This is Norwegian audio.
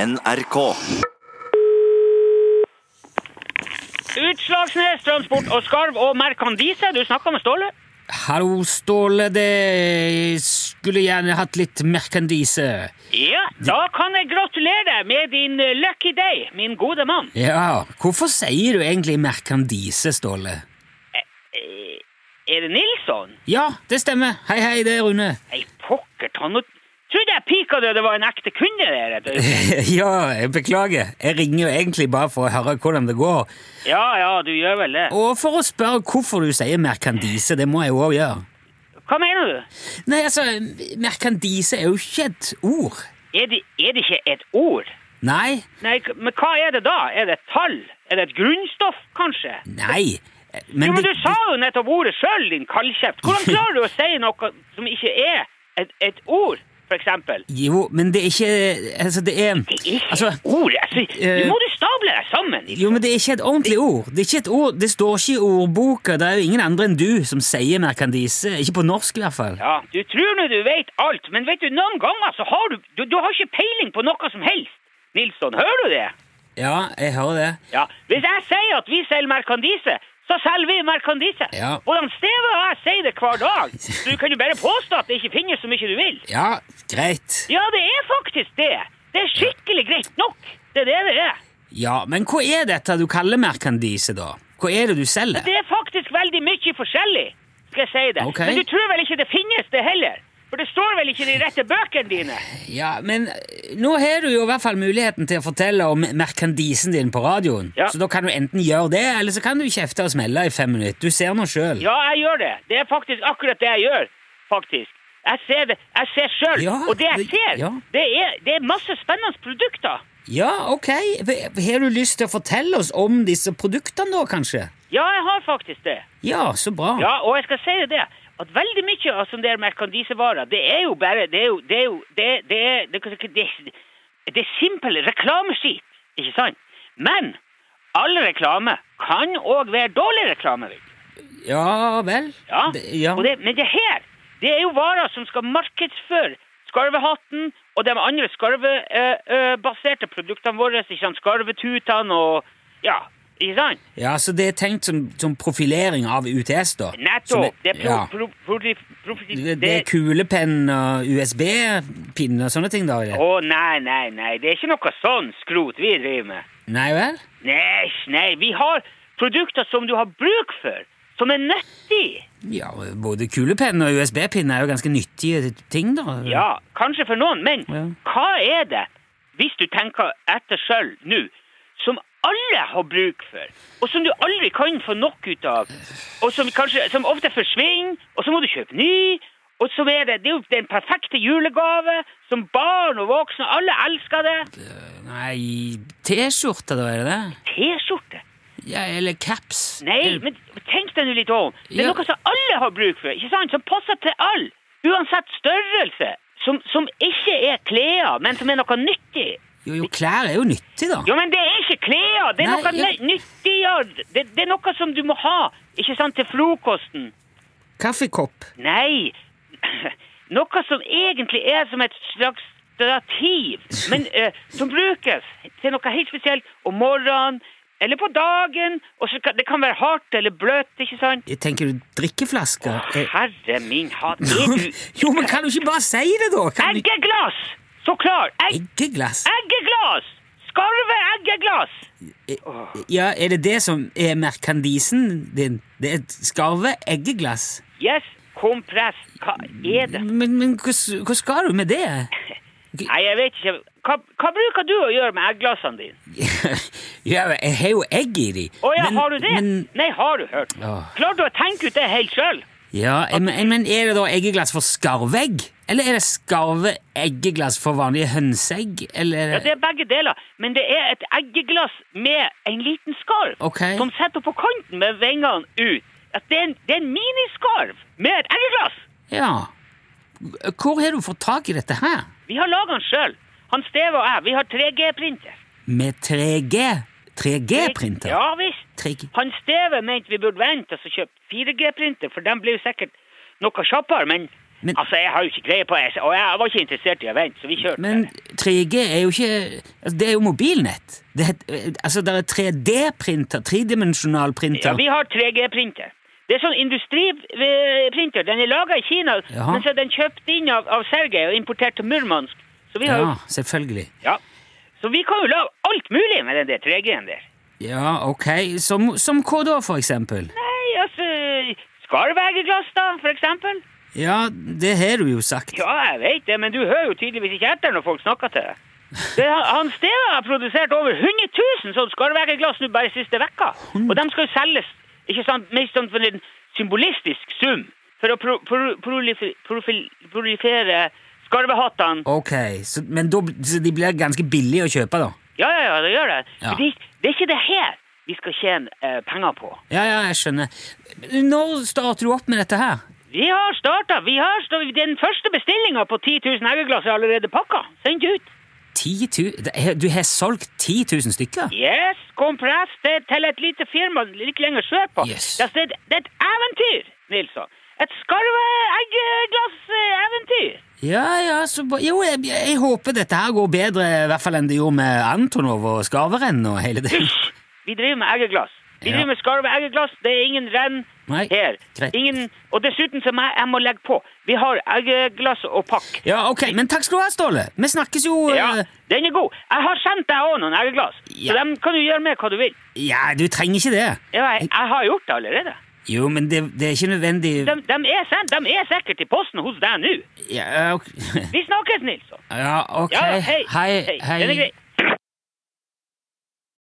NRK. Utslagsnes Transport og Skarv og Merkandise, du snakka med Ståle? Hallo, Ståle. Det skulle gjerne hatt litt merkandise. Ja, da kan jeg gratulere deg med din eh, lucky day, min gode mann. Ja, hvorfor sier du egentlig merkandise, Ståle? Eh, Er det Nilsson? Ja, det stemmer. Hei, hei, det er Rune. Nei, pokker ta nå Trodde jeg pika det, det var en ekte kunde der. vet du. ja, jeg beklager. Jeg ringer jo egentlig bare for å høre hvordan det går. Ja ja, du gjør vel det. Og for å spørre hvorfor du sier merkandise. Det må jeg jo òg gjøre. Hva mener du? Nei, altså, merkandise er jo ikke et ord. Er det, er det ikke et ord? Nei. Nei, k- men hva er det da? Er det et tall? Er det et grunnstoff, kanskje? Nei. Jo, men det- du sa jo nettopp ordet sjøl, din kaldkjeft. Hvordan klarer du å si noe som ikke er et, et ord, for eksempel? Jo, men det er ikke Altså, det er Det er ikke Altså, et ord. Altså, eh, nå må du stable deg sammen. Jo, men det er ikke et ordentlig ord. Det, er ikke et ord. det står ikke i ordboka. Det er jo ingen andre enn du som sier merkandise. Ikke på norsk, i hvert fall. Ja, du tror nå du vet alt, men vet du, noen ganger så har du, du Du har ikke peiling på noe som helst. Nilsson, hører du det? Ja, jeg hører det. Ja. Hvis jeg sier at vi selger merkandise, så selger vi merkandise. Ja. Hvordan Steve og jeg sier det hver dag. Så du kan jo bare påstå at det ikke finnes så mye du vil. Ja, greit. Ja, det er faktisk det. Det er skikkelig greit nok. Det er det det er. Ja, men hva er dette du kaller merkandise, da? Hva er det du selger? Det er faktisk veldig mye forskjellig, skal jeg si det. Ok. Men du tror vel ikke det finnes det heller? For det står vel ikke i de rette bøkene dine? Ja, men eh, nå har du jo i hvert fall muligheten til å fortelle om merkandisen din på radioen. Ja. Så da kan du enten gjøre det, eller så kan du kjefte og smelle i fem minutter. Du ser nå sjøl. Ja, jeg gjør det. Det er faktisk akkurat det jeg gjør, faktisk. Jeg ser det, jeg ser sjøl, Ja, og det jeg det- ser, ja. det, er, det er masse spennende produkter. Ja, ok. Har du lyst til å fortelle oss om disse produktene, da, kanskje? Ja, jeg har faktisk det. Ja, så bra. Ja, og jeg skal si deg det, at veldig mye av sånne der merkandisevarer, det er jo bare, det er jo, det er jo, det, det er, det, det, det, det er simpel reklameskit, ikke sant? Men, all reklame kan også være dårlig reklame, vet du. Ja vel. Ja. Det- ja. Og det, men det her, det er jo varer som skal markedsføre skarvehatten og de andre skarvebaserte produktene våre, ikke sant, skarvetutene og, ja, ikke sant? ja, Så det er tenkt som, som profilering av UTS, da? Som Nettopp, det er pro, ja. pro, pro, pro, pro, det, det er kulepenn og USB-pinn og sånne ting, da? i det. Å, nei, nei, nei, det er ikke noe sånn skrot vi driver med. Nei vel? Nei, nei, vi har produkter som du har bruk for, som er nyttig. Ja, både kulepenn og USB-pinn er jo ganske nyttige ting, da. Ja, kanskje for noen, men Ja. hva er det, hvis du tenker etter sjøl nå, som alle har bruk for, og som du aldri kan få nok ut av, og som, kanskje, som ofte forsvinner, og så må du kjøpe ny, og så er det, det er jo den perfekte julegave, som barn og voksne, alle elsker det. Nei, T-skjorte, da, er det det? T-skjorte. Ja, eller caps? Nei, men tenk deg nå litt om. Det er Ja. noe som alle har bruk for, ikke sant? Som passer til alle, uansett størrelse. Som, som ikke er klær, men som er noe nyttig. Jo, jo, klær er jo nyttig, da. Jo, men det er ikke klær! Det er Nei, noe ja. ny- nyttigere. Det, det er noe som du må ha, ikke sant, til frokosten. Kaffekopp. Nei, noe som egentlig er som et slags stativ, men eh, som brukes til noe helt spesielt om morgenen, eller på dagen, og så kan, det kan være hardt eller bløtt, ikke sant? Jeg tenker du drikkeflasker? Eh, Herre min hatt, er du jo, men kan du ikke bare si det, da? Kan du... Eggeglass! Så klar! Egg, Eggeglass? eggeglass! Skarve eggeglass! Eh, Ja, er det det som er merkandisen din? Det er et skarve eggeglass? Yes, kompress. Hva er det? Men, men hva, s- hva skal du med det? Nei, jeg vet ikke. Hva, hva bruker du å gjøre med egglassene dine? Ja, jeg har jo egg i de. Å ja, Men- har du det? Men, Nei, har du hørt? Åh. Klarer du å tenke ut det helt sjøl? ja, eh, men, eh, men er det da eggeglass for skarvegg? Eller er det skarve eggeglass for vanlige hønseegg? Eller Ja, det er begge deler, men det er et eggeglass med en liten skarv Ok. som sitter på kanten med vingene ut. At det, er en, det er en miniskarv med et eggeglass! Ja. Hvor har du fått tak i dette her? Vi har laga den sjøl. Han Steve og jeg, vi har 3G-printer. Med 3G? 3G-printer? Ja visst. 3G. Han Steve mente vi burde vente og så kjøpe 4G-printer, for den blir jo sikkert noe kjappere, men Men- Altså, jeg har jo ikke greie på det, og jeg var ikke interessert i å vente, så vi kjørte. Men det. 3G er jo ikke altså, Det er jo mobilnett. Det er, et- altså, det er 3D-printer, tredimensjonal printer. Ja, vi har 3G-printer. Det er sånn industriprinter. Den er laga i Kina, Jaha. men så er den kjøpt inn av, av Sergej og importert til Murmansk. Så vi, har, Ja, jo- selvfølgelig. ja. så vi kan jo lage alt mulig med den der 3G-en der. Ja, ok. Som, som hva da, for eksempel? Nei, altså Skarvegeglass, da, for eksempel. Ja, det har du jo sagt. Ja, jeg vet det, men du hører jo tydeligvis ikke etter når folk snakker til deg. Det, han- han Steva har produsert over 100 000 sånn skarvegeglass nå bare siste vekka. Og de skal jo selges ikke sant, mest sånn for en symbolistisk sum for å pro, pro, prolifer, profil, prolifere skarvehattene. Ok, så, men da, bl- så de blir ganske billige å kjøpe, da? Ja, ja, ja, det gjør det. Ja. Men det, det er ikke det her vi skal tjene eh, penger på. Ja, ja, jeg skjønner. Når starter du opp med dette her? Vi har starta. Vi har sta- den første bestillinga på 10 000 eggeglass er allerede pakka. Sendt ut. 10 000? Det er- Du har solgt 10 000 stykker? Yes, kompress det til et lite firma litt lenger sørpå. Yes. Det, er- det er et eventyr, Nilsson. Et eh, skarveeggglasseventyr. Ja, ja, så bra. Jo, jeg, jeg håper dette her går bedre, i hvert fall enn det gjorde med Antonov og Skarverenn og hele det. Hysj! Vi driver med eggeglass. Vi Ja. driver med skarveeggeglass. Det er ingen renn Nei, her. greit. Ingen, og dessuten så må jeg, jeg må legge på. Vi har eggeglass og pakk. Ja, ok, men takk skal du ha, Ståle. Vi snakkes jo eh, Ja, den er god. Jeg har sendt deg òg noen eggeglass, Ja. så dem kan du gjøre med hva du vil. ja, du trenger ikke det. Ja, jeg, jeg har gjort det allerede. Jo, men det, det er ikke nødvendig De, de, er sendt, de er sikkert i posten hos deg nå. Ja, ok. Vi snakkes, Nilsson. Ja, ok. Ja, hei. Hei, Den er grei.